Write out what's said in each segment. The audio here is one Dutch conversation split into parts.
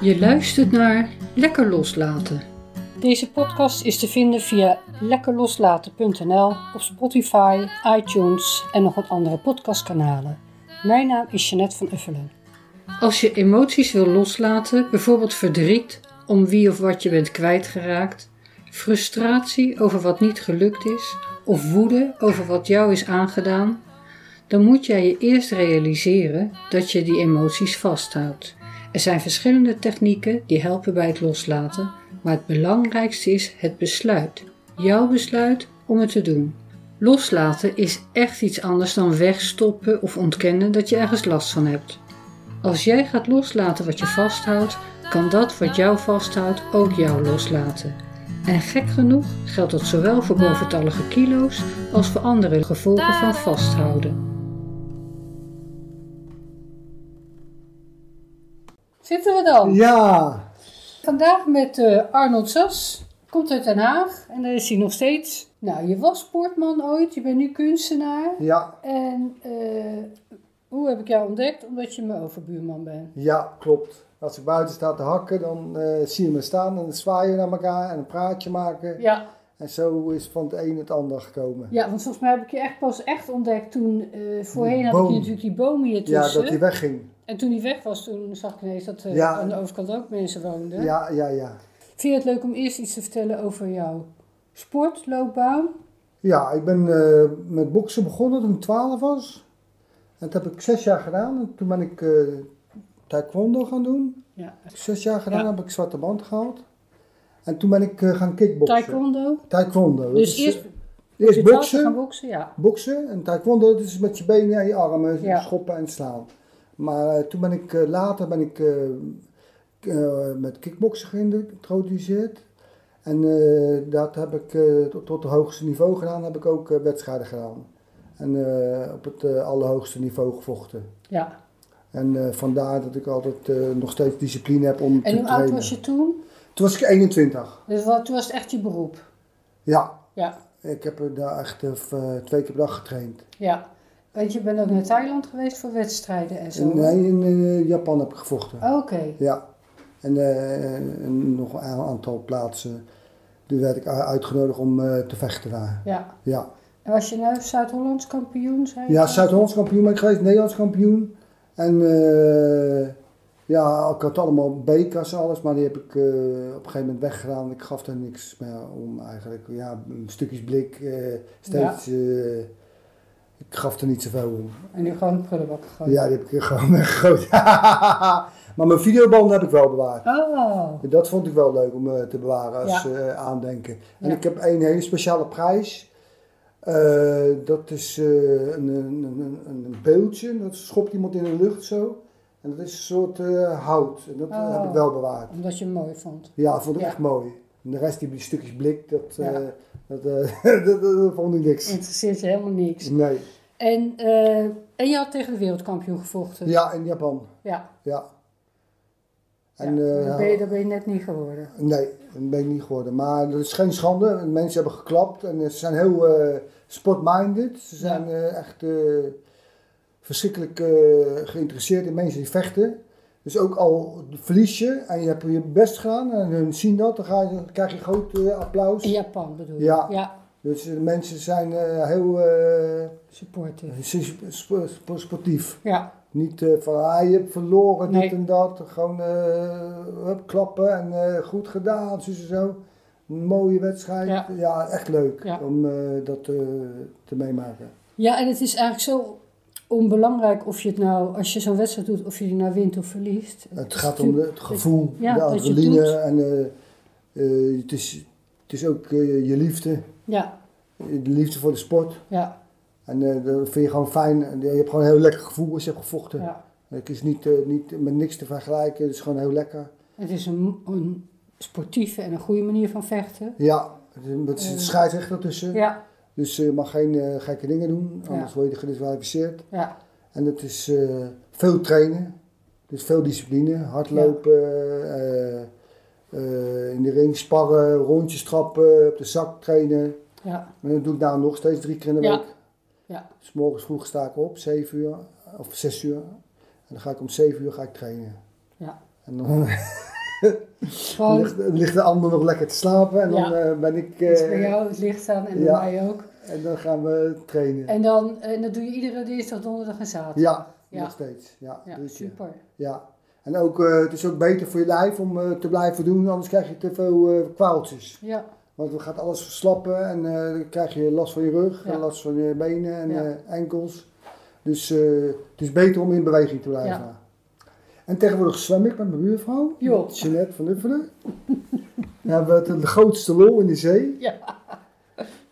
Je luistert naar Lekker Loslaten. Deze podcast is te vinden via lekkerloslaten.nl, op Spotify, iTunes en nog wat andere podcastkanalen. Mijn naam is Jeanette van Uffelen. Als je emoties wil loslaten, bijvoorbeeld verdriet om wie of wat je bent kwijtgeraakt, frustratie over wat niet gelukt is of woede over wat jou is aangedaan, dan moet jij je eerst realiseren dat je die emoties vasthoudt. Er zijn verschillende technieken die helpen bij het loslaten, maar het belangrijkste is het besluit. Jouw besluit om het te doen. Loslaten is echt iets anders dan wegstoppen of ontkennen dat je ergens last van hebt. Als jij gaat loslaten wat je vasthoudt, kan dat wat jou vasthoudt ook jou loslaten. En gek genoeg geldt dat zowel voor boventallige kilo's als voor andere gevolgen van vasthouden. Zitten we dan? Ja, Vandaag met eh, Arnold Sas. Komt uit Den Haag en daar is hij nog steeds. Nou, je was sportman ooit, je bent nu kunstenaar. ja, En eh, hoe heb ik jou ontdekt? Omdat je mijn overbuurman bent. ja, klopt. Als ik buiten sta te hakken, dan eh, zie je me staan en dan zwaaien naar elkaar en een praatje maken. Ja, En zo is van het een het ander gekomen. Ja, want volgens mij heb ik je echt pas echt ontdekt toen... eh, voorheen had ik boom. je natuurlijk die bomen hier Ja, tussen. dat die wegging. En toen die weg was, toen zag ik ineens dat eh, Ja. aan de overkant ook mensen woonden. Ja, ja, ja. Vind je het leuk om eerst iets te vertellen over jouw sportloopbaan? Ja, ik ben eh, met boksen begonnen toen ik 12 was. En dat heb ik zes jaar gedaan. En toen ben ik eh, taekwondo gaan doen. Ja. Zes jaar gedaan Ja. heb ik zwarte band gehaald. En toen ben ik eh, gaan kickboksen. Taekwondo? Taekwondo. dat Dus is, eerst eh, met eerst je touw te boksen. gaan boksen? Ja. Boksen en taekwondo, dus met je benen en je armen Ja. schoppen en slaan. Maar eh, toen ben ik eh, later ben ik eh, k- eh, met kickboksen geïntroduceerd. En eh, dat heb ik eh, tot, tot het hoogste niveau gedaan, heb ik ook eh, wedstrijden gedaan. En eh, op het eh, allerhoogste niveau gevochten. ja. En eh, vandaar dat ik altijd eh, nog steeds discipline heb om En te hoe oud trainen. was je toen? Toen was ik 21. Dus wat, toen was het echt je beroep? Ja, Ja. ik heb er daar echt eh, twee keer per dag getraind. Ja. Want je bent ook naar Thailand geweest voor wedstrijden en zo. Oh, Nee, in eh, Japan heb ik gevochten. Oké. Ja, en, eh, en nog een aantal plaatsen. Toen werd ik u- uitgenodigd om eh, te vechten daar. Ja. Ja, En was je nou Zuid-Hollands kampioen? Zei je? ja Zuid-Hollands kampioen ben ik geweest, Nederlands kampioen. En eh, ja, ik had allemaal bekers en alles, maar die heb ik eh, op een gegeven moment weggedaan. Ik gaf daar niks meer om eigenlijk. Ja, stukjes blik, eh, steeds. eh, ik gaf er niet zoveel om. En nu gewoon een prullenbak gegooid? Ja, die heb ik gewoon weggegooid. maar mijn videobanden heb ik wel bewaard. Oh. En Dat vond ik wel leuk om eh, te bewaren als Ja. eh, aandenken. En Ja. ik heb een hele speciale prijs. Eh, dat is eh, een, een, een, een een beeldje. Dat schopt iemand in de lucht zo. En dat is een soort eh, hout. En dat eh, Oh. heb ik wel bewaard. Omdat je hem mooi vond. Ja, vond ik Ja. echt mooi. En de rest, die stukjes blik, dat, eh, Ja. dat, eh, dat, dat- dat vond ik niks. Interesseert je helemaal niks. Nee. En, eh, en je had tegen de wereldkampioen gevochten. Ja, in Japan. Ja. Ja. Ja. En, eh, dat, ben je, dat ben je net niet geworden. Nee, dat ben ik niet geworden. Maar dat is geen schande. Mensen hebben geklapt en eh, ze zijn heel eh, sport-minded. Ze zijn eh, echt eh, verschrikkelijk eh, geïnteresseerd in mensen die vechten. Dus ook al verlies je en je hebt je best gedaan en hun zien dat, dan, ga je, dan krijg je groot eh, applaus. In Japan bedoel je? Ja. Dus eh, mensen zijn eh, heel eh, supporter. sp- sp- sp- sportief. Ja. Niet eh, van, ah, je hebt verloren, Nee. dit en dat. Gewoon eh, hup, klappen en eh, goed gedaan, zo, zo, zo. Een mooie wedstrijd. Ja. Ja, echt leuk Ja. om eh, dat eh, te meemaken. ja, en het is eigenlijk zo onbelangrijk of je het nou, als je zo'n wedstrijd doet, of je die nou wint of verliest. Het is gaat om natuurlijk- het gevoel, Ja, de dat je het adrenaline. doet. En eh, eh, het, is, het is ook eh, je liefde. Ja, De liefde voor de sport. ja, En eh, dat vind je gewoon fijn. En eh, Je hebt gewoon een heel lekker gevoel als je hebt gevochten. ja. Het is niet, eh, niet met niks te vergelijken. Het is gewoon heel lekker. Het is een, een sportieve en een goede manier van vechten. Ja, het is een Eh. scheidsrechter tussen. Ja, Dus eh, je mag geen eh, gekke dingen doen, Ja. anders word je gedisqualificeerd. ja, En het is eh, veel trainen, dus veel discipline, hardlopen, eh, eh, in de ring sparren, rondjes trappen, op de zak trainen. ja, En dat doe ik nou nog steeds drie keer in de Ja. week. ja. Dus morgens vroeg sta ik op, 7 uur of 6 uur. En dan ga ik om 7 uur ga ik trainen. Ja. En dan, Dan Gewoon ligt, dan ligt de ander nog lekker te slapen en dan Ja. eh, ben ik... iets eh, bij jou het licht aan en ja. bij mij ook. En dan gaan we trainen. En dan, en dat doe je iedere dinsdag, donderdag en zaterdag. Ja, Ja. nog steeds. Ja, Ja, drie keer. super. Ja. En ook, eh, het is ook beter voor je lijf om eh, te blijven doen, anders krijg je te veel eh, kwaaltjes. Ja, Want dan gaat alles verslappen en eh, dan krijg je last van je rug, Ja. en last van je benen en Ja. eh, enkels. Dus eh, het is beter om in beweging te blijven. En tegenwoordig zwem ik met mijn buurvrouw, Joh. Jeanette van Uffelen. We hebben het, eh, de grootste lol in de zee. ja,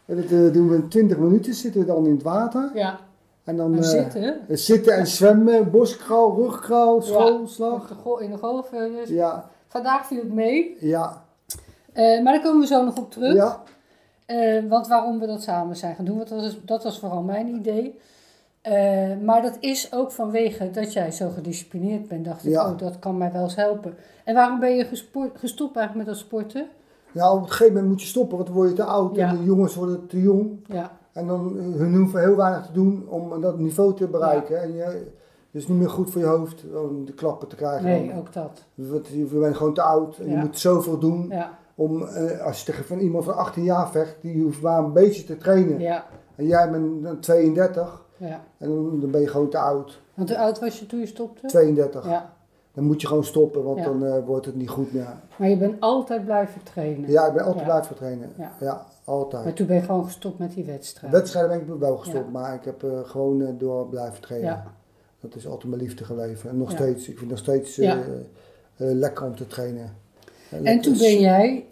En dat eh, doen we in 20 minuten, zitten we dan in het water. ja. En dan En eh, zitten zitten en zwemmen, borstkraal, rugkraal, op schoolslag. de go- in de golven. Dus. Oh. Ja, Vandaag viel het mee, ja, Eh, maar daar komen we zo nog op terug. ja, Eh, want waarom we dat samen zijn gaan doen, want dat, is, dat was vooral mijn idee. Eh, maar dat is ook vanwege dat jij zo gedisciplineerd bent, dacht ik, Ja. oh, dat kan mij wel eens helpen. En waarom ben je gespo- gestopt eigenlijk met dat sporten? ja. Nou, Op een gegeven moment moet je stoppen, want dan word je te oud Ja. en de jongens worden te jong. Ja, En dan, eh, hun hoeven heel weinig te doen om dat niveau te bereiken. En je, het is niet meer goed voor je hoofd om de klappen te krijgen. nee, ook dat. Want je je bent gewoon te oud en Ja. je moet zoveel doen. Ja, Om, eh, als je tegen van iemand van 18 jaar vecht, die hoeft maar een beetje te trainen. ja, En jij bent dan 32 ja. en dan, dan ben je gewoon te oud. Want hoe oud was je toen je stopte? 32. Ja, Dan moet je gewoon stoppen, want Ja. dan eh, wordt het niet goed meer. maar je bent altijd blijven trainen. Ja, ik ben altijd Ja. blijven trainen. Ja. Ja, altijd. Maar toen ben je gewoon gestopt met die wedstrijd. Wedstrijden ben ik wel gestopt, Ja. maar ik heb eh, gewoon eh, door blijven trainen. Ja. Dat is altijd mijn liefde gebleven. En nog Ja. steeds. Ik vind het nog steeds eh, Ja. eh, lekker om te trainen. En toen ben jij...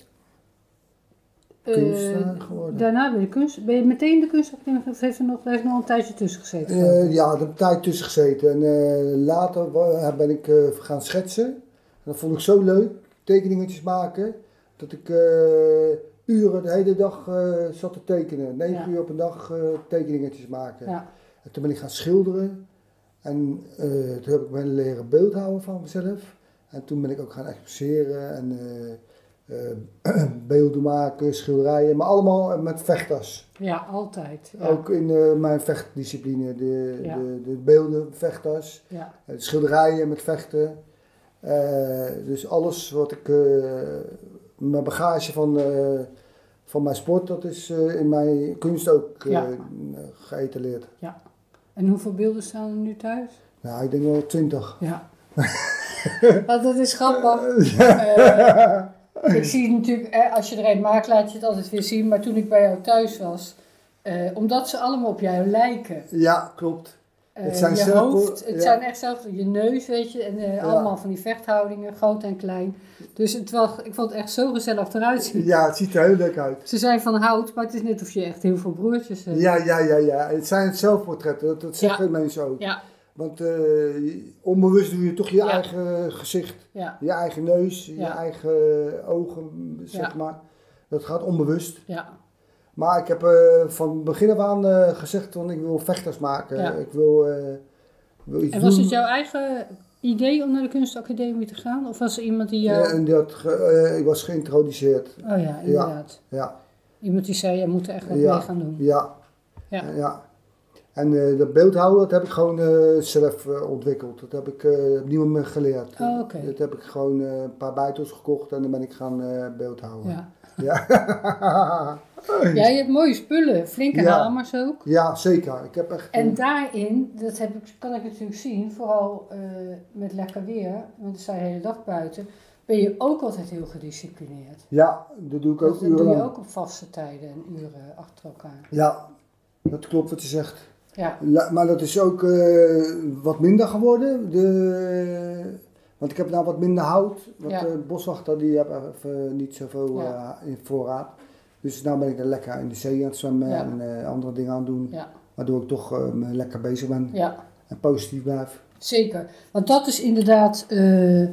eh, Kunstenaar geworden. daarna ben je, kunst, ben je meteen de kunstacademie of heeft er nog, daar heeft nog een tijdje tussen gezeten? Eh, ja, er heb ik tijd tussen gezeten. En eh, later wa- ben ik eh, gaan schetsen. En dat vond ik zo leuk, tekeningetjes maken, dat ik eh, uren de hele dag eh, zat te tekenen. Negen Ja. uur op een dag eh, tekeningetjes maken. Ja. En toen ben ik gaan schilderen. En eh, toen heb ik me leren beeldhouden van mezelf. En toen ben ik ook gaan exposeren en eh, eh, beelden maken, schilderijen. Maar allemaal eh, met vechtas. Ja, altijd. Ja. Ook in eh, mijn vechtdiscipline. De, Ja. de, de beelden, vechtas. Ja. eh, de schilderijen met vechten. Eh, dus alles wat ik... eh, mijn bagage van, eh, van mijn sport, dat is eh, in mijn kunst ook eh Ja. geëtaleerd. En hoeveel beelden staan er nu thuis? Nou, ik denk wel twintig. Ja. Want dat is grappig. Eh, ik zie natuurlijk, eh, als je er een maakt, laat je het altijd weer zien. Maar toen ik bij jou thuis was, eh, omdat ze allemaal op jou lijken. Ja, klopt. Eh, Het zijn je zelf- hoofd, het ja. zijn echt zelf je neus, weet je, en eh, Ja. allemaal van die vechthoudingen, groot en klein. Dus het was, ik vond het echt zo gezellig eruit zien. Ja, het ziet er heel leuk uit. Ze zijn van hout, maar het is net of je echt heel veel broertjes hebt. Ja, ja, ja, ja. Het zijn zelfportretten, dat, dat zeggen mensen ook. ja, Want eh, onbewust doe je toch je Ja. eigen gezicht, ja, je eigen neus, je Ja. eigen ogen, zeg Ja. maar. Dat gaat onbewust. ja, Maar ik heb eh, van begin af aan eh, gezegd, van ik wil vechters maken. Ja. Ik wil, eh, ik wil iets En was doen. het jouw eigen idee om naar de kunstacademie te gaan? Of was er iemand die jou... Ja, en dat ge- eh, ik was geïntroduceerd. Oh ja, inderdaad. Ja. Iemand die zei, jij moet er echt wat Ja. mee gaan doen. Ja. Ja. Eh, ja. En eh, dat beeldhouden, dat heb ik gewoon eh, zelf eh, ontwikkeld. Dat heb ik eh, niemand meer geleerd. Oh, oké. Dat heb ik gewoon eh, een paar bijtels gekocht en dan ben ik gaan eh, beeldhouden. Ja. Ja. ja, je hebt mooie spullen. Flinke Ja. hamers ook. Ja, zeker. Ik heb echt... En daarin, dat heb ik, kan ik natuurlijk zien, vooral eh, met lekker weer, want we zijn de hele dag buiten, ben je ook altijd heel gedisciplineerd. Ja, dat doe ik ook Dat doe je urenlang. ook op vaste tijden en uren achter elkaar. Ja, dat klopt wat je zegt. Ja, La- maar dat is ook eh, wat minder geworden. De, want ik heb nou wat minder hout. Want Ja. de boswachter die heb even niet zoveel Ja. eh, in voorraad. Dus nu ben ik er lekker in de zee aan het zwemmen Ja. en eh, andere dingen aan het doen. ja, Waardoor ik toch eh, me lekker bezig ben ja. en positief blijf. Zeker, want dat is inderdaad. eh,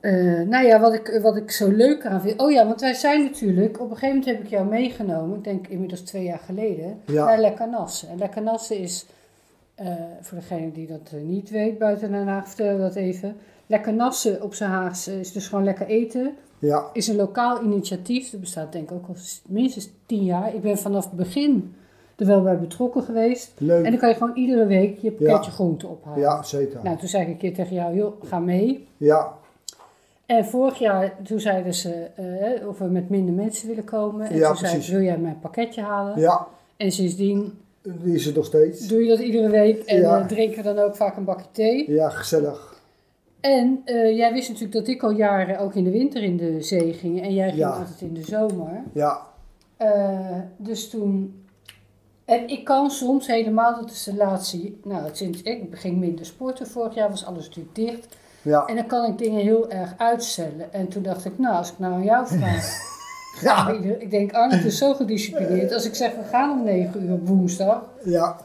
eh, nou ja, wat ik, wat ik zo leuk aan vind. Oh ja, want wij zijn natuurlijk. Op een gegeven moment heb ik jou meegenomen, ik denk inmiddels twee jaar geleden. Ja. Naar Lekkernassen. En Lekkernassen is. eh, voor degene die dat eh, niet weet, buiten Den Haag vertel dat even. Lekkernassen op zijn Haags eh, is dus gewoon lekker eten. Ja, Is een lokaal initiatief. Dat bestaat denk ik ook al s- minstens tien jaar. Ik ben vanaf het begin er wel bij betrokken geweest. leuk. En dan kan je gewoon iedere week je pakketje Ja. groente ophalen. Ja, zeker. Nou, toen zei ik een keer tegen jou, joh, ga mee. Ja, En vorig jaar, toen zeiden ze eh, of we met minder mensen willen komen. En Ja, toen zei ik, precies. wil jij mijn pakketje halen? Ja, En sindsdien die is er nog steeds. doe je dat iedere week en Ja. eh, drinken we dan ook vaak een bakje thee. Ja, gezellig. En eh, jij wist natuurlijk dat ik al jaren ook in de winter in de zee ging. En jij ging Ja. altijd in de zomer. Ja, Eh, dus toen... En ik kan soms helemaal, dat is de laatste... Nou, sinds ik ging minder sporten vorig jaar, was alles natuurlijk dicht. ja. En dan kan ik dingen heel erg uitstellen. En toen dacht ik, nou, als ik nou aan jou vraag. Ja, Ik- ik denk, Arne, het is zo gedisciplineerd. Als ik zeg, we gaan om 9 uur op woensdag. ja,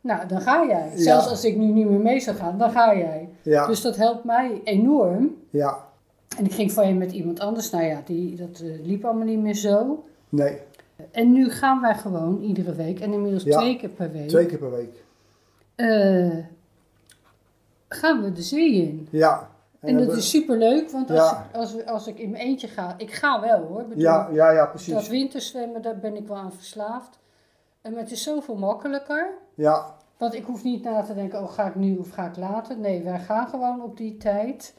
Nou, dan ga jij. Ja. Zelfs als ik nu niet meer mee zou gaan, dan ga jij. ja, Dus dat helpt mij enorm. ja. En ik ging voorheen met iemand anders. Nou ja, die, dat eh, liep allemaal niet meer zo. Nee, En nu gaan wij gewoon iedere week. En inmiddels Ja. twee keer per week. twee keer per week. eh, gaan we de zee in. Ja. En dat we- is superleuk, want als, Ja. ik, als, we- als ik in mijn eentje ga, ik ga wel hoor. Ik bedoel, Ja, ja, ja, Dat precies. winterzwemmen, daar ben ik wel aan verslaafd. En maar het is zoveel makkelijker. Ja, Want ik hoef niet na te denken, oh ga ik nu of ga ik later. Nee, wij gaan gewoon op die tijd.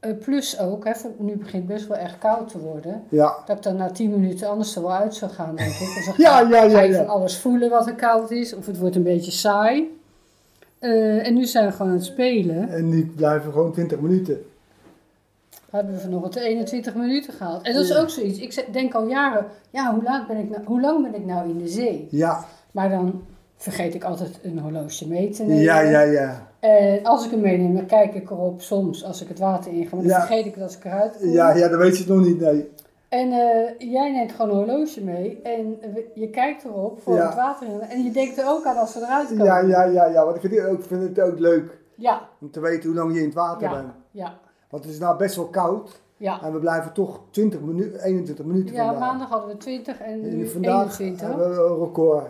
Eh, plus ook, hè, van- nu begint best wel erg koud te worden. ja. Dat ik dan na 10 minuten anders er wel uit zou gaan, denk ik. Dus dan Ja, ga- ja, ja, ga je ja. van alles voelen wat er koud is. Of het wordt een beetje saai. Eh, en nu zijn we gewoon aan het spelen. En die blijven gewoon 20 minuten. We hebben vanochtend 21 minuten gehaald. En dat is Ja. ook zoiets. Ik ze- denk al jaren, ja, hoe, laat ben ik nou, hoe lang ben ik nou in de zee? Ja, Maar dan vergeet ik altijd een horloge mee te nemen. ja, ja, ja. En als ik hem meeneem, dan kijk ik erop soms als ik het water inga. Maar dan Ja. vergeet ik het als ik eruit kom. Ja, ja, dan weet je het nog niet, nee. En eh, jij neemt gewoon een horloge mee. En we- je kijkt erop voor Ja. het water in. En je denkt er ook aan als ze eruit komen. Ja, ja, ja, ja. Want ik vind het ook, vind het ook leuk Ja, om te weten hoe lang je in het water bent. ja, ja. Want het is nou best wel koud. ja. En we blijven toch 20 minu 21 minuten Ja, vandaag. maandag hadden we 20 en En nu vandaag 21. hebben we een record.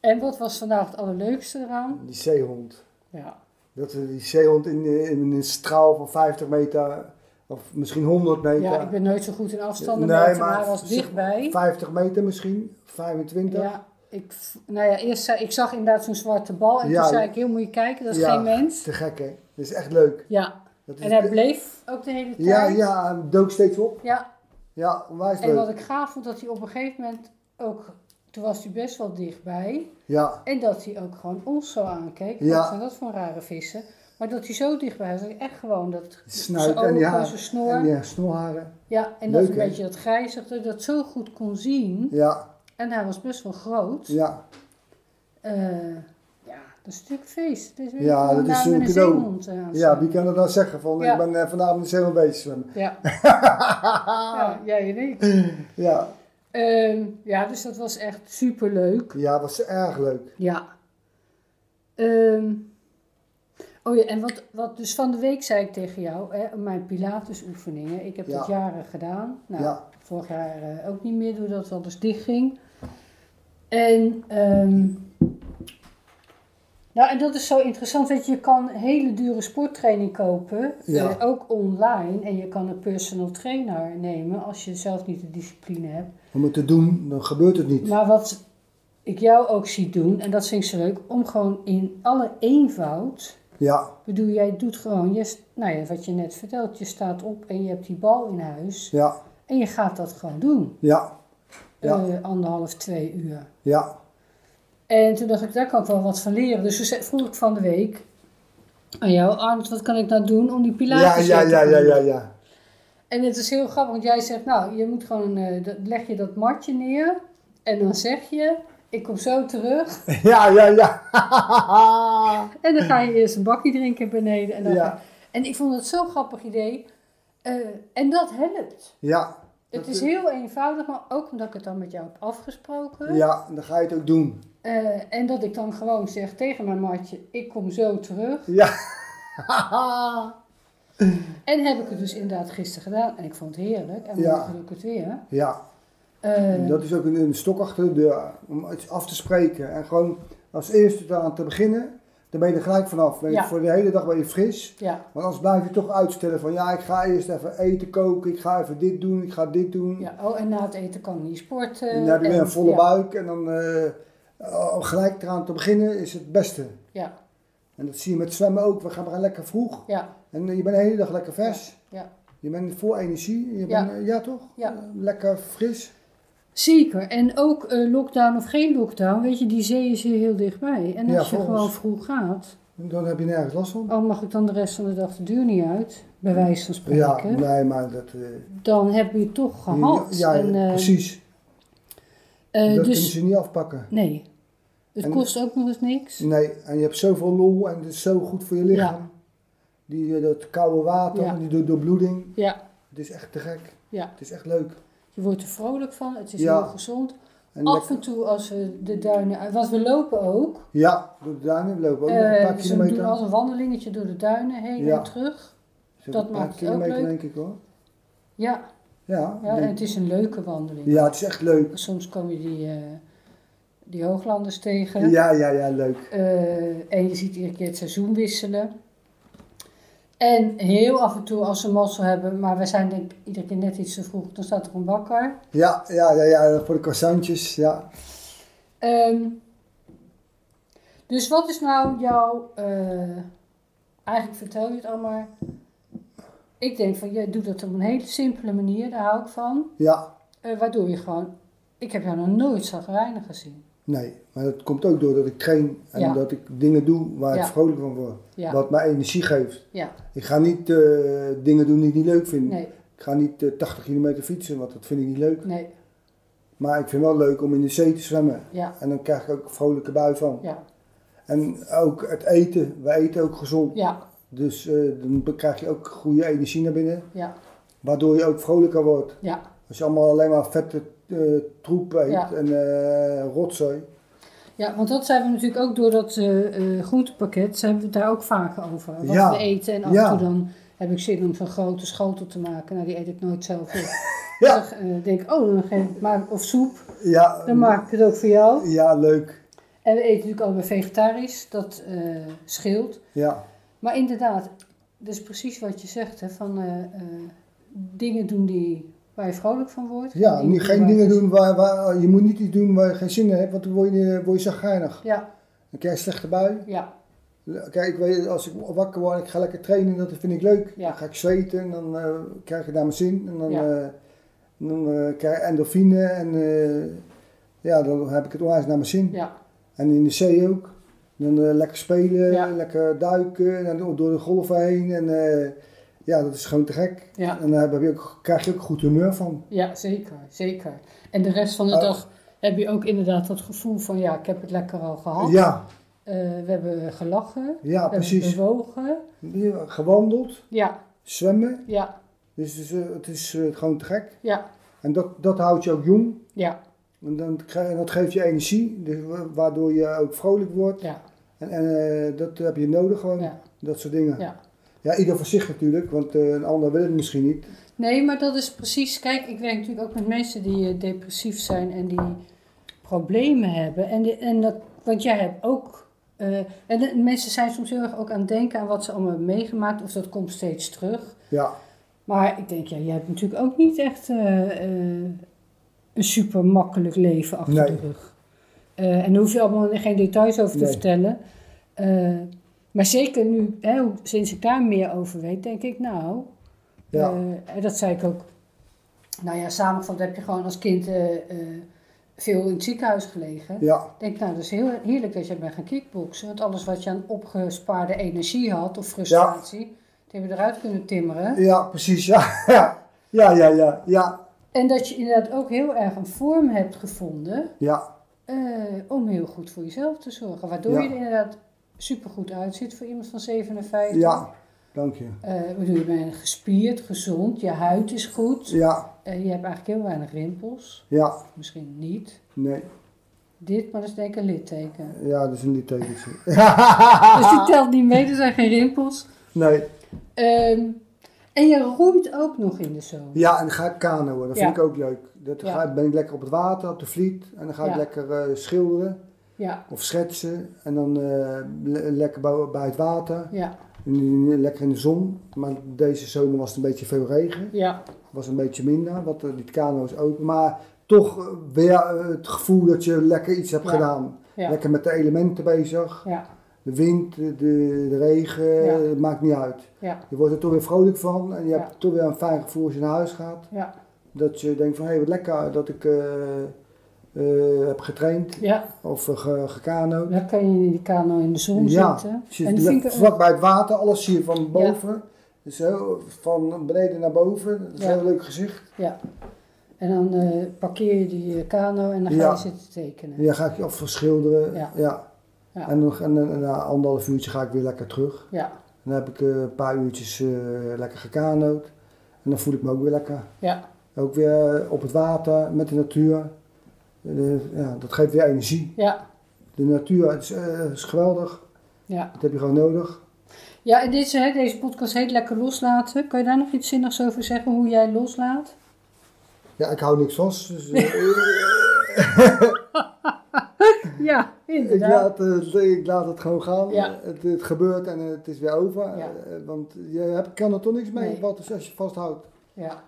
En wat was vandaag het allerleukste eraan? Die zeehond. Ja. Dat we die zeehond in, in een straal van 50 meter, of misschien 100 meter. Ja, ik ben nooit zo goed in afstanden Nee, meten, maar, maar hij was zeg- dichtbij. 50 meter misschien, 25. Ja, ik, v- nou ja, eerst zei, ik zag inderdaad zo'n zwarte bal en Ja. toen zei ik, heel moet je kijken, dat is Ja. geen mens. Te gek hè, dat is echt leuk. Ja, Dat is en hij bleef ook de hele tijd. Dus Ja, ja, hij dook steeds op. Ja, Ja, onwijs en leuk. wat ik gaaf vond, dat hij op een gegeven moment ook, toen was hij best wel dichtbij. Ja, En dat hij ook gewoon ons zo aankeek. Ja. Wat zijn dat voor rare vissen? Maar dat hij zo dichtbij was, dat ik echt gewoon dat snuit zijn en die ogen, haar- zijn snor. en die snorharen. ja, en Leuk, dat hè? een beetje dat grijzig, dat ik dat zo goed kon zien. Ja, En hij was best wel groot. ja, Eh, ja, dat is natuurlijk feest. Het is weer Ja, gewoon dat is daar een met cadeau. zeehond, eh, aan ja, staan. wie kan dat nou zeggen? Van, Ja. Ik ben eh, vanavond met de zeehond bezig zwemmen. Ja. ja, jij en ik. Ja, Ehm, ja, dus dat was echt superleuk. ja, was erg leuk. Ja. Ehm, oh ja, en wat, wat dus van de week zei ik tegen jou, hè, mijn Pilates oefeningen. Ik heb Ja. dat jaren gedaan. Nou, Ja. vorig jaar eh, ook niet meer, doordat alles dicht ging. En, ehm, nou, en dat is zo interessant, weet je, je kan hele dure sporttraining kopen, Ja. eh, ook online. En je kan een personal trainer nemen als je zelf niet de discipline hebt. Om het te doen, dan gebeurt het niet. Maar wat ik jou ook zie doen, en dat vind ik zo leuk, om gewoon in alle eenvoud. Ja, Ik bedoel, jij doet gewoon, je, st- nou ja, wat je net vertelt, je staat op en je hebt die bal in huis. ja, En je gaat dat gewoon doen. ja, Ja. Eh, anderhalf, twee uur. ja, En toen dacht ik, daar kan ik wel wat van leren. Dus toen zei- vroeg ik van de week aan jou, Arnold, wat kan ik nou doen om die ja, pilates ja, weer te ja, ja, doen? ja, ja. En het is heel grappig, want jij zegt, nou, je moet gewoon, eh, dat- leg je dat matje neer. En dan zeg je, ik kom zo terug. Ja, ja, ja. En dan ga je eerst een bakje drinken beneden. En, dan Ja. ga- en ik vond het zo'n grappig idee. Eh, en dat helpt. Ja, Het Dat is is- heel eenvoudig, maar ook omdat ik het dan met jou heb afgesproken. ja, dan ga je het ook doen. Eh, en dat ik dan gewoon zeg tegen mijn matje, ik kom zo terug. Ja, En heb ik het dus inderdaad gisteren gedaan. En ik vond het heerlijk. En Ja. morgen doe ik het weer. ja. Eh, En dat is ook een, een stok achter de deur, om iets af te spreken. En gewoon als eerste daaraan te beginnen, dan ben je er gelijk vanaf. Ben je- Ja. Voor de hele dag ben je fris. ja, Want anders blijf je toch uitstellen van, ja, ik ga eerst even eten koken, ik ga even dit doen, ik ga dit doen. ja. Oh, en na het eten kan ik niet sporten. En dan heb je weer En- een volle ja, buik en dan eh, oh, gelijk eraan te beginnen is het beste. Ja, En dat zie je met zwemmen ook. We gaan maar lekker vroeg. ja, En je bent de hele dag lekker vers. ja. Je bent vol energie. Je Ja. bent, eh, ja, toch? Ja. Eh, Lekker fris. Zeker. En ook eh, lockdown of geen lockdown, weet je, die zee is hier heel dichtbij. En Ja, als je volgens- gewoon vroeg gaat, Dan heb je nergens last van. al mag ik dan de rest van de dag de deur niet uit, bij wijze van Ja, spreken, nee, maar dat... eh, dan heb je het toch gehad. Ja, ja, en, eh, precies. eh, dat kunnen dus, ze niet afpakken. nee. Het En- Mm. kost ook nog eens niks. Nee, en je hebt zoveel lol en het is zo goed voor je lichaam. Die, eh, dat koude water, Ja. die door, doorbloeding. Ja, Het is echt te gek. Ja. Het is echt leuk. je wordt er vrolijk van, het is Ja. heel gezond. En Af lekker- en toe als we de duinen uit, want we lopen ook. Ja, door de duinen lopen we ook nog een Eh, paar dus we doen kilometer. altijd een wandelingetje door de duinen heen Ja. en terug. Zo'n dat paar maakt het ook kilometer leuk. denk ik hoor. Ja, Ja, ja en denk- het is een leuke wandeling. ja, het is echt leuk. Soms kom je die, eh, die hooglanders tegen. Ja, ja, ja, leuk. Eh, en je ziet iedere keer het seizoen wisselen. En heel af en toe als ze mazzel hebben, maar we zijn denk ik iedere keer net iets te vroeg, dan staat er een bakker. Ja, ja, ja, ja, voor de croissantjes, ja. Ehm, dus wat is nou jouw... eh, eigenlijk vertel je het al maar. Ik denk van, jij doet dat op een hele simpele manier, daar hou ik van. Ja, Eh, waardoor je gewoon... Ik heb jou nog nooit zagrijnig gezien. nee. Maar dat komt ook doordat ik train en Ja. dat ik dingen doe waar Ja. ik vrolijk van word. Ja, Wat mij energie geeft. ja, Ik ga niet eh, dingen doen die ik niet leuk vind. nee, Ik ga niet eh, 80 kilometer fietsen, want dat vind ik niet leuk. nee, Maar ik vind wel leuk om in de zee te zwemmen. ja, En dan krijg ik ook een vrolijke bui van. ja, En ook het eten. We eten ook gezond. ja, Dus eh, dan krijg je ook goede energie naar binnen. ja, Waardoor je ook vrolijker wordt. ja. Als je allemaal alleen maar vette eh, troep eet Ja. en eh, rotzooi. Ja, want dat zijn we natuurlijk ook door dat eh, eh, groentepakket, zijn we het daar ook vaak over. Wat Ja. we eten en af Ja. en toe dan heb ik zin om zo'n grote schotel te maken. Nou, die eet ik nooit zelf op. Ja. Dus dan eh, denk ik, oh, dan geef ik maar, of soep, Ja, dan maak ik het ook voor jou. ja leuk. En we eten natuurlijk allemaal vegetarisch, dat eh, scheelt. Ja. Maar inderdaad, dat is precies wat je zegt, hè, van eh, eh, dingen doen die, waar je vrolijk van wordt. Ja, Dingen niet, doen geen waar- dingen doen waar, waar... Je moet niet iets doen waar je geen zin in hebt, want dan word je, word je zagrijnig. Ja, Dan krijg je een slechte bui. ja, Kijk, ik weet, als ik wakker word en ik ga lekker trainen, dat vind ik leuk. Ja. Dan ga ik zweten en dan eh, krijg ik daar mijn zin. En dan, Ja. eh, dan eh, krijg ik endorfine en eh, ja, dan heb ik het onwijs naar mijn zin. ja, En in de zee ook. Dan eh, lekker spelen, Ja. lekker duiken, en dan door de golven heen. En eh, ja, dat is gewoon te gek. ja. En daar heb je ook, krijg je ook goed humeur van. Ja, zeker, zeker. En de rest van de Oh. dag heb je ook inderdaad dat gevoel van ja, ik heb het lekker al gehad. Ja, Eh, we hebben gelachen, ja, we hebben precies. bewogen. Ja, Gewandeld, Ja, zwemmen. ja, Dus, het is, eh, het is eh, gewoon te gek. ja, En dat, dat houdt je ook jong. ja, En dan krijg, en dat geeft je energie, dus wa- waardoor je ook vrolijk wordt. ja, En, en eh, dat heb je nodig gewoon, ja, dat soort dingen. ja. Ja, ieder voor zich natuurlijk, want eh, een ander wil het misschien niet. Nee, maar dat is precies. Kijk, ik werk natuurlijk ook met mensen die eh, depressief zijn en die problemen hebben. En, die- en dat, want jij hebt ook. eh, en de- mensen zijn soms heel erg ook aan het denken aan wat ze allemaal hebben meegemaakt, of dat komt steeds terug. Ja, Maar ik denk, ja, jij hebt natuurlijk ook niet echt eh, eh, een super makkelijk leven achter Nee. de rug. Eh, en daar hoef je allemaal geen details over te Nee. vertellen. Eh, maar zeker nu, hè, hoe- sinds ik daar meer over weet, denk ik, nou, ja, eh, en dat zei ik ook. Nou ja, samengevat heb je gewoon als kind eh, eh, veel in het ziekenhuis gelegen. ja, Ik denk, nou, dat is heel heerlijk dat jij bent gaan kickboksen. Want alles wat je aan opgespaarde energie had, of frustratie, die hebben we eruit kunnen timmeren. ja, precies, ja, ja, ja, ja, ja, ja, En dat je inderdaad ook heel erg een vorm hebt gevonden ja, eh, om heel goed voor jezelf te zorgen. Waardoor Ja. je er inderdaad supergoed uitziet voor iemand van 57. ja, dank je. Eh, ik bedoel, je bent gespierd, gezond, je huid is goed. Ja, Eh, je hebt eigenlijk heel weinig rimpels. ja, Of misschien niet. nee, Dit, maar dat is denk ik een litteken. ja, dat is een litteken. Ah. Dus die telt niet mee, er zijn geen rimpels. Nee, Ehm, en je roeit ook nog in de zomer. ja, en dan ga ik kanoën, dat Ja. vind ik ook leuk. Dat Ja. ga, ik- ben ik lekker op het water, op de vliet, en dan ga ik Ja. lekker eh, schilderen. Ja, of schetsen en dan eh, le- lekker bij, bij het water, ja, In- in- lekker in de zon. Maar deze zomer was het een beetje veel regen, ja, was een beetje minder, want eh, die kano's ook. Maar toch eh, weer eh, het gevoel dat je lekker iets hebt Ja. gedaan. ja, Lekker met de elementen bezig, ja, de wind, de, de regen, Ja. het maakt niet uit. Ja, Je wordt er toch weer vrolijk van en je Ja. hebt toch weer een fijn gevoel als je naar huis gaat. ja, Dat je denkt van hé, wat lekker dat ik eh, eh, heb getraind ja. of eh, ge, gekanoot. Dan kan je in die kano in de zon Ja, dus zitten. je En dat vind zit ik vlak bij het water, alles zie je van boven. Dus heel, van beneden naar boven, dat is Ja. een heel leuk gezicht. Ja. En dan eh, parkeer je die eh, kano en dan ga je Ja. zitten tekenen. En dan ga ik je of verschilderen. Ja. Ja. Ja. En, nog, en, en na anderhalf uurtje ga ik weer lekker terug. Ja, En dan heb ik eh, een paar uurtjes eh, lekker gekanoot. En dan voel ik me ook weer lekker. ja, Ook weer op het water, met de natuur. Eh, ja, dat geeft weer energie. ja, De natuur het is, eh, is geweldig. ja. Dat heb je gewoon nodig. Ja, en deze, hè, deze podcast heet Lekker Loslaten. Kan je daar nog iets zinnigs over zeggen, hoe jij loslaat? Ja, ik hou niks vast. Dus, eh, Ja, ik, laat, het- ik laat het gewoon gaan. Ja. Het, het gebeurt en het is weer over. Ja. Eh, Want je hebt, kan er toch niks mee Nee. wat, dus als je vasthoudt. Ja,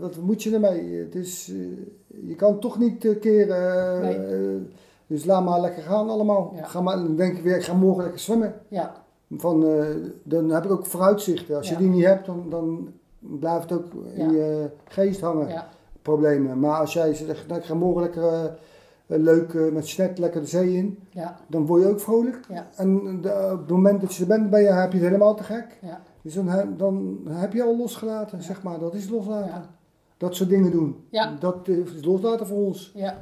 Wat moet je ermee? Het is, eh, je kan toch niet eh, keren. eh, eh, dus laat maar lekker gaan allemaal. Ja. Ga maar, dan denk ik weer, ik ga morgen lekker zwemmen. ja, Van, eh, dan heb ik ook vooruitzichten. Als Ja. je die niet hebt, dan, dan blijft het ook Ja. in je geest hangen. ja, Problemen. Maar als jij zegt, nou, ik ga morgen lekker eh, leuk eh, met snet lekker de zee in. ja, Dan word je ook vrolijk. Ja. En eh, de- op het moment dat je er bent, ben je, heb je het helemaal te gek. ja, Dus dan, he- dan heb je al losgelaten, zeg maar. Dat is loslaten. Ja. Dat soort dingen doen. Ja. Dat is loslaten voor ons. ja.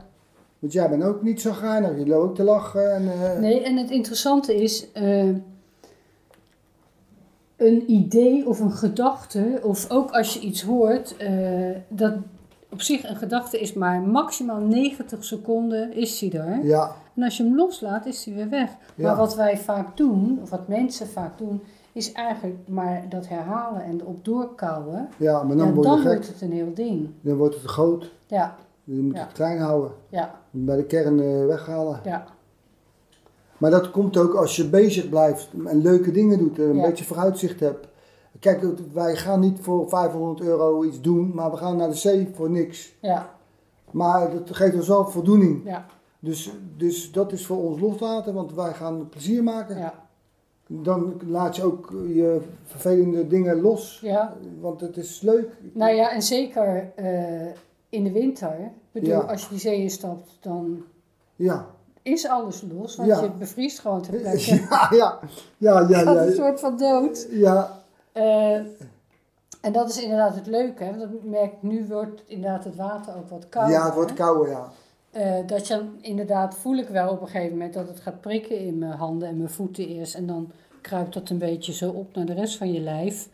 Want jij bent ook niet zo gaanig. Je loopt ook te lachen. En, eh, Nee, en het interessante is, eh, een idee of een gedachte, of ook als je iets hoort, eh, dat op zich een gedachte is maar maximaal 90 seconden is die er. Ja, En als je hem loslaat, is hij weer weg. Ja. Maar wat wij vaak doen, of wat mensen vaak doen, is eigenlijk maar dat herhalen en erop doorkouwen. ja, maar dan en word dan je gek. wordt het een heel ding. Dan wordt het groot. Ja, Je moet Ja. het klein houden. ja, Bij de kern eh, weghalen. ja, Maar dat komt ook als je bezig blijft en leuke dingen doet en een Ja. beetje vooruitzicht hebt. Kijk, wij gaan niet voor 500 euro iets doen, maar we gaan naar de zee voor niks. ja, Maar dat geeft ons wel voldoening. ja, Dus, dus dat is voor ons loslaten, want wij gaan plezier maken. ja, Dan laat je ook je vervelende dingen los, ja. want het is leuk. Nou ja, en zeker eh, in de winter. Ik bedoel, Ja. als je die zee instapt, dan Ja, is alles los. Want Ja. je bevriest gewoon ter ja, plekke. ja, ja, ja, ja, Van een ja, soort van dood. ja, Eh, en dat is inderdaad het leuke. Hè? Want dat merk ik, nu wordt inderdaad het water ook wat koud. Eh, ja, het wordt kouder, ja. dat je dan inderdaad, voel ik wel op een gegeven moment, dat het gaat prikken in mijn handen en mijn voeten eerst. En dan kruipt dat een beetje zo op naar de rest van je lijf.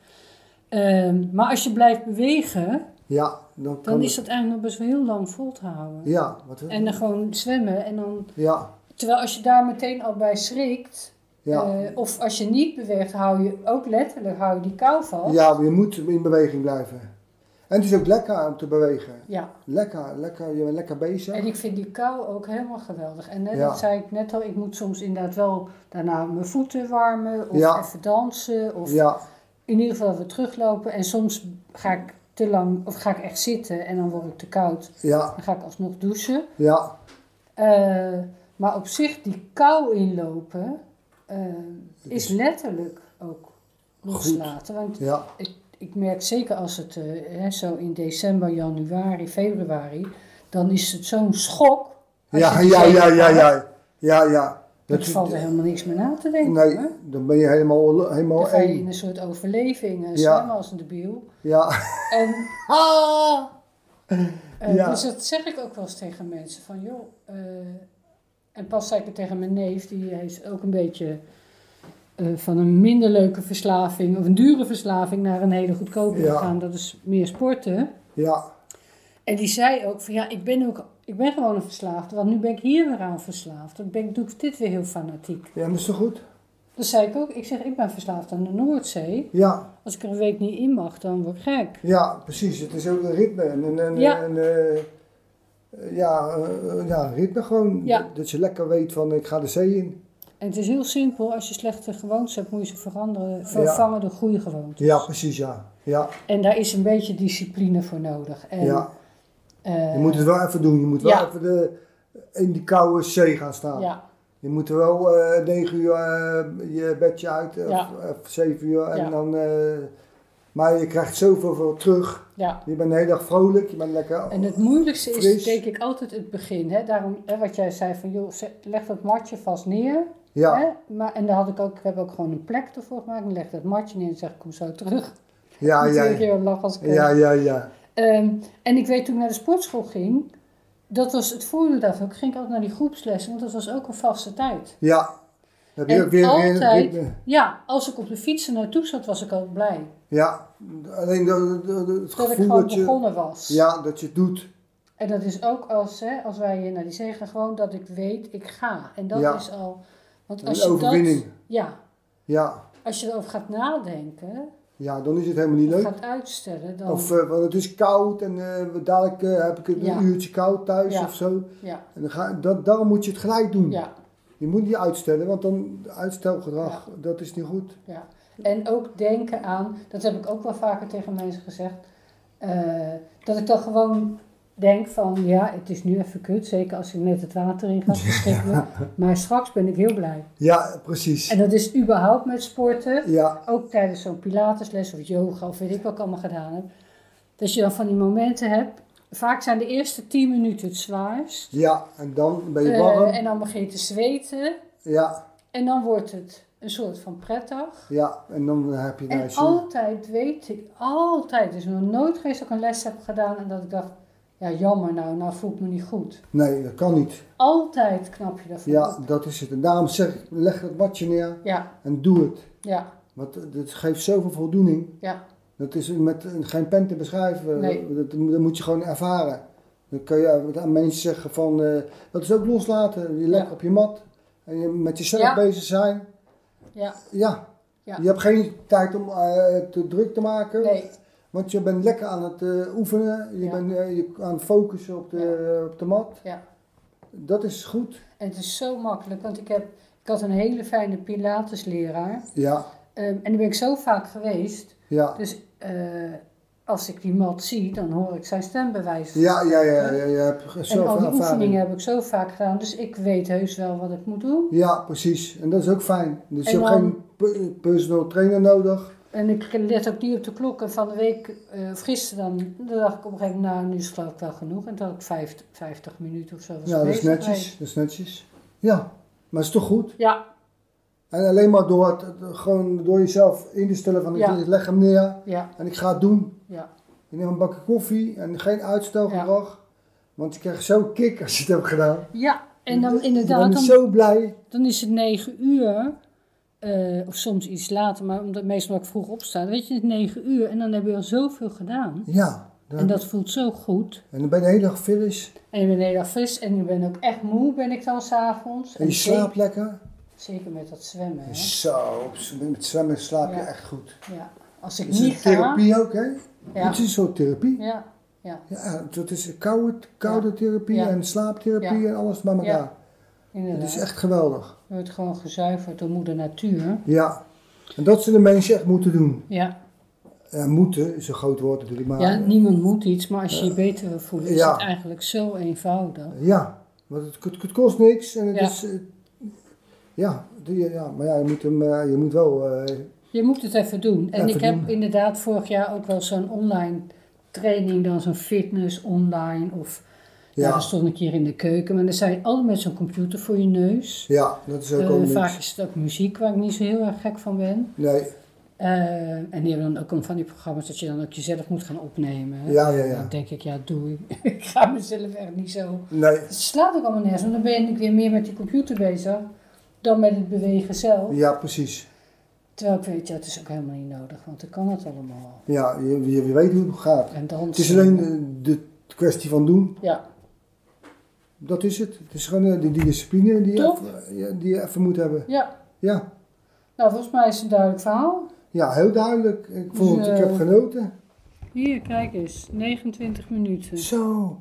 Ehm, maar als je blijft bewegen, Ja, dan kan dan het- is dat eigenlijk nog best wel heel lang vol te houden. Ja, wat, En dan gewoon zwemmen. En dan, ja, terwijl als je daar meteen al bij schrikt, ja. eh, of als je niet beweegt, hou je ook letterlijk hou je die kou vast. Ja, je moet in beweging blijven. En het is ook lekker om te bewegen. Ja. Lekker, lekker, je bent lekker bezig. en ik vind die kou ook helemaal geweldig. En net, Ja. dat zei ik net al, ik moet soms inderdaad wel daarna mijn voeten warmen of Ja. even dansen. Of Ja, in ieder geval weer teruglopen. En soms ga ik te lang, of ga ik echt zitten en dan word ik te koud. ja, Dan ga ik alsnog douchen. ja, Eh, maar op zich, die kou inlopen eh, is letterlijk ook loslaten. Want ja, ik, ik merk zeker als het eh, hè, zo in december, januari, februari, dan is het zo'n schok. Als ja, je die ja, zee ja, ja, gaat, ja, ja, ja. Dan valt er helemaal niks meer na te denken. hè? Nee, dan ben je helemaal, Dan helemaal ga je in één. een soort overleving en Ja. zwemmen als een debiel. Ja, En, Ah! eh, Ja. Dus dat zeg ik ook wel eens tegen mensen. Van joh, eh, en pas zei ik het tegen mijn neef, die is ook een beetje eh, van een minder leuke verslaving of een dure verslaving naar een hele goedkope Ja. gegaan. Dat is meer sporten. ja, En die zei ook van ja, ik ben, ook, ik ben gewoon een verslaafde, want nu ben ik hier weer aan verslaafd. Dan ben ik, doe ik dit weer heel fanatiek. ja, maar is toch goed? Dus zei ik ook, ik zeg ik ben verslaafd aan de Noordzee. Ja, Als ik er een week niet in mag, dan word ik gek. ja, precies. Het is ook een ritme. En, en, en, Ja. en, eh, ja, eh, ja, ritme gewoon. Ja. Dat je lekker weet van ik ga de zee in. En het is heel simpel, als je slechte gewoontes hebt, moet je ze veranderen, vervangen door goede gewoontes. Ja, precies, ja. Ja, En daar is een beetje discipline voor nodig. En, ja. eh, Je moet het wel even doen. Je moet Ja. wel even de, in die koude zee gaan staan. ja. Je moet er wel eh, negen uur eh, je bedje uit, of, Ja. of zeven uur. En Ja. dan, eh, maar je krijgt zoveel voor terug. Ja. Je bent de hele dag vrolijk, je bent lekker. En het moeilijkste is Fris. denk ik altijd het begin. Hè? Daarom hè, wat jij zei van joh, ze- leg dat matje vast neer. ja, Hè? Maar, en daar had ik ook, ik heb ook gewoon een plek ervoor gemaakt. Ik leg dat matje neer en zeg ik kom zo terug. ja, ja, Natuurlijk ja, heel lach als ik er- ja, ja, ja. Ehm, en ik weet toen ik naar de sportschool ging, dat was het voordeel daarvan. Ik ging ook naar die groepslessen, want dat was ook een vaste tijd. Ja. Dan Heb je En ook weer altijd- weer- Ja, als ik op de fiets er naartoe zat, was ik ook blij. Ja, alleen de- de- de- het Dat ik gevoel gewoon dat je, begonnen was. ja, dat je het doet. En dat is ook als, hè, als wij hier naar die zee gaan, gewoon dat ik weet, ik ga. En dat Ja. is al... Want als Een je overwinning. Dat, ja, Ja. als je erover gaat nadenken, ja, dan is het helemaal niet of leuk. gaat uitstellen, dan... Of eh, want het is koud en eh, dadelijk eh, heb ik het een Ja. uurtje koud thuis Ja. of zo. ja, En dan ga, dat, daarom moet je het gelijk doen. ja, Je moet niet uitstellen, want dan uitstelgedrag, dat is niet goed. ja. En ook denken aan, dat heb ik ook wel vaker tegen mensen gezegd, eh, dat ik dan gewoon denk van, ja, het is nu even kut, zeker als ik net het water in ga, verschrikkelijk. Maar straks ben ik heel blij. Ja, precies. En dat is überhaupt met sporten. Ja, ook tijdens zo'n pilatesles of yoga of weet ik wat ik allemaal gedaan heb. Dat je dan van die momenten hebt. Vaak zijn de eerste 10 minuten het zwaarst. ja, en dan ben je Eh, warm. en dan begin je te zweten. Ja, En dan wordt het een soort van prettig. ja, en dan heb je En nice. altijd weet ik, altijd, dus nog nooit geweest dat ik een les heb gedaan en dat ik dacht, ja jammer nou, nou voel ik me niet goed. Nee, dat kan niet. Altijd knap je daarvan Ja, op. dat is het. En daarom zeg ik, leg het matje neer Ja, en doe het. ja, Want het geeft zoveel voldoening. ja, Dat is met geen pen te beschrijven. eh, Nee. Dat, dat moet je gewoon ervaren. Dan kun je eh, aan mensen zeggen van, eh, dat is ook loslaten. Je legt Ja. op je mat en je met jezelf Ja. bezig zijn. ja, Ja. Ja. Je hebt geen tijd om eh, te druk te maken. nee, Want je bent lekker aan het eh, oefenen. Je Ja. bent eh, je, aan het focussen op de, op de mat. ja. Dat is goed. En het is zo makkelijk, want ik, heb, ik had een hele fijne pilatesleraar. Ja, Ehm, en daar ben ik zo vaak geweest. ja. Dus eh, als ik die mat zie, dan hoor ik zijn stembewijs. Ja, ja, ja, ja, je hebt Dus- en al zoveel die oefeningen ervaring. heb ik zo vaak gedaan. Dus ik weet heus wel wat ik moet doen. Ja, precies. En dat is ook fijn. Dus je En hebt dan- geen pe- personal trainer nodig. En ik let ook niet op de klokken van de week. eh, of gisteren dan, dan dacht ik op een gegeven moment, nou, nu is het geloof ik wel genoeg. En toen had ik vijf- 50 minuten of zo. Was Ja, ik dat is bezig netjes. geweest. Dat is netjes. Ja, maar het is toch goed. Ja, En alleen maar door, het, het- gewoon door jezelf in te stellen van Ja. ik leg hem neer ja, en ik ga het doen. ja, Je neemt een bakje koffie en geen uitstelgedrag. Want je krijgt zo'n kick als je het hebt gedaan. ja. En dan Je inderdaad, bent dan zo blij. Dan is het negen uur, eh, of soms iets later, maar omdat meestal dat ik vroeg opsta, dan weet je, het is negen uur en dan heb je al zoveel gedaan. Ja. Dan, En dat voelt zo goed. en dan ben je de hele dag fris. En je bent de hele dag fris en je bent ook echt moe, ben ik dan s'avonds. En je slaapt lekker. Zeker met dat zwemmen. Hè? Zo, op z- met zwemmen slaap je Ja. echt goed. Ja. Als ik Het is niet een ga. therapie ook, hè? Ja. Het is een soort therapie. Ja, ja, Ja, dat is koude, koude therapie Ja. en slaaptherapie en alles bij elkaar. Ja, Het is inderdaad. echt geweldig. Je wordt gewoon gezuiverd door moeder natuur. Ja. En dat zullen mensen echt moeten doen. Ja. Eh, moeten is een groot woord natuurlijk, maar... ja, niemand moet iets, maar als je je beter wil voelen, is Ja. het eigenlijk zo eenvoudig. Ja, want het, het, het kost niks en het Ja. is... eh, ja, die- ja, maar ja, je moet, hem, eh, je moet wel... eh, Je moet het even doen. En Even ik heb doen. inderdaad vorig jaar ook wel zo'n online training, dan zo'n fitness online. Of ja. ja, dan stond ik hier in de keuken. Maar dan zijn altijd met zo'n computer voor je neus. ja, dat is ook Eh, al niks. vaak is het ook muziek waar ik niet zo heel erg gek van ben. Nee, Eh, en die hebben dan ook een van die programma's dat je dan ook jezelf moet gaan opnemen. hè. ja, ja, ja. Dan denk ik, ja doei. ik ga mezelf echt niet zo. Nee, Het slaat ook allemaal nergens, want dan ben ik weer meer met die computer bezig dan met het bewegen zelf. ja, precies. Terwijl ik weet, ja, het is ook helemaal niet nodig, want dan kan het allemaal. Ja, je, je weet hoe het gaat. En dan Het is alleen de, de kwestie van doen. Ja, Dat is het. Het is gewoon eh, die, die discipline die je, Top. even, eh, ja, die je even moet hebben. ja. Ja, Nou, volgens mij is het een duidelijk verhaal. ja heel duidelijk. Ik vond het, ik Zo. heb genoten. Hier, kijk eens. 29 minuten. Zo.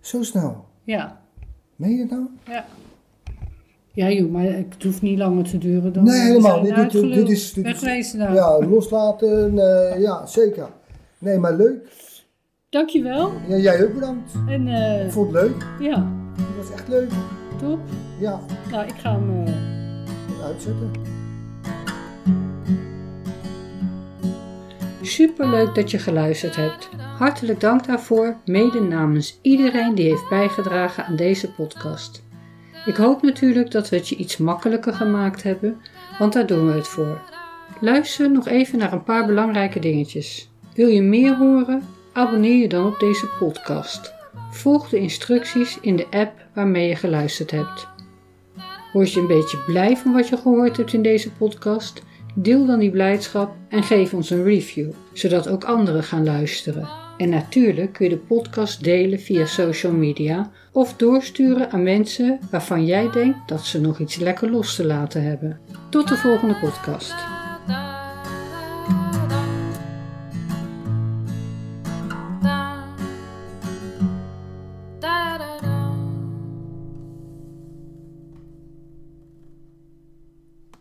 Zo snel. Ja. Meen je het nou? Ja, joh, maar het hoeft niet langer te duren dan... Nee, we zijn helemaal. Dit- dit- dit uitgeluld. is- dit is- Wegwezen nou. Ja, loslaten. eh, ja, zeker. Nee, maar leuk. Dankjewel. Ja, jij ook bedankt. En eh, Ik vond het leuk. ja, Het was echt leuk. Top. Ja, Nou, ik ga hem... eh, uitzetten. Superleuk dat je geluisterd hebt. Hartelijk dank daarvoor, mede namens iedereen die heeft bijgedragen aan deze podcast. Ik hoop natuurlijk dat we het je iets makkelijker gemaakt hebben, want daar doen we het voor. Luister nog even naar een paar belangrijke dingetjes. Wil je meer horen? Abonneer je dan op deze podcast. Volg de instructies in de app waarmee je geluisterd hebt. Word je een beetje blij van wat je gehoord hebt in deze podcast? Deel dan die blijdschap en geef ons een review, zodat ook anderen gaan luisteren. En natuurlijk kun je de podcast delen via social media of doorsturen aan mensen waarvan jij denkt dat ze nog iets lekker los te laten hebben. Tot de volgende podcast. da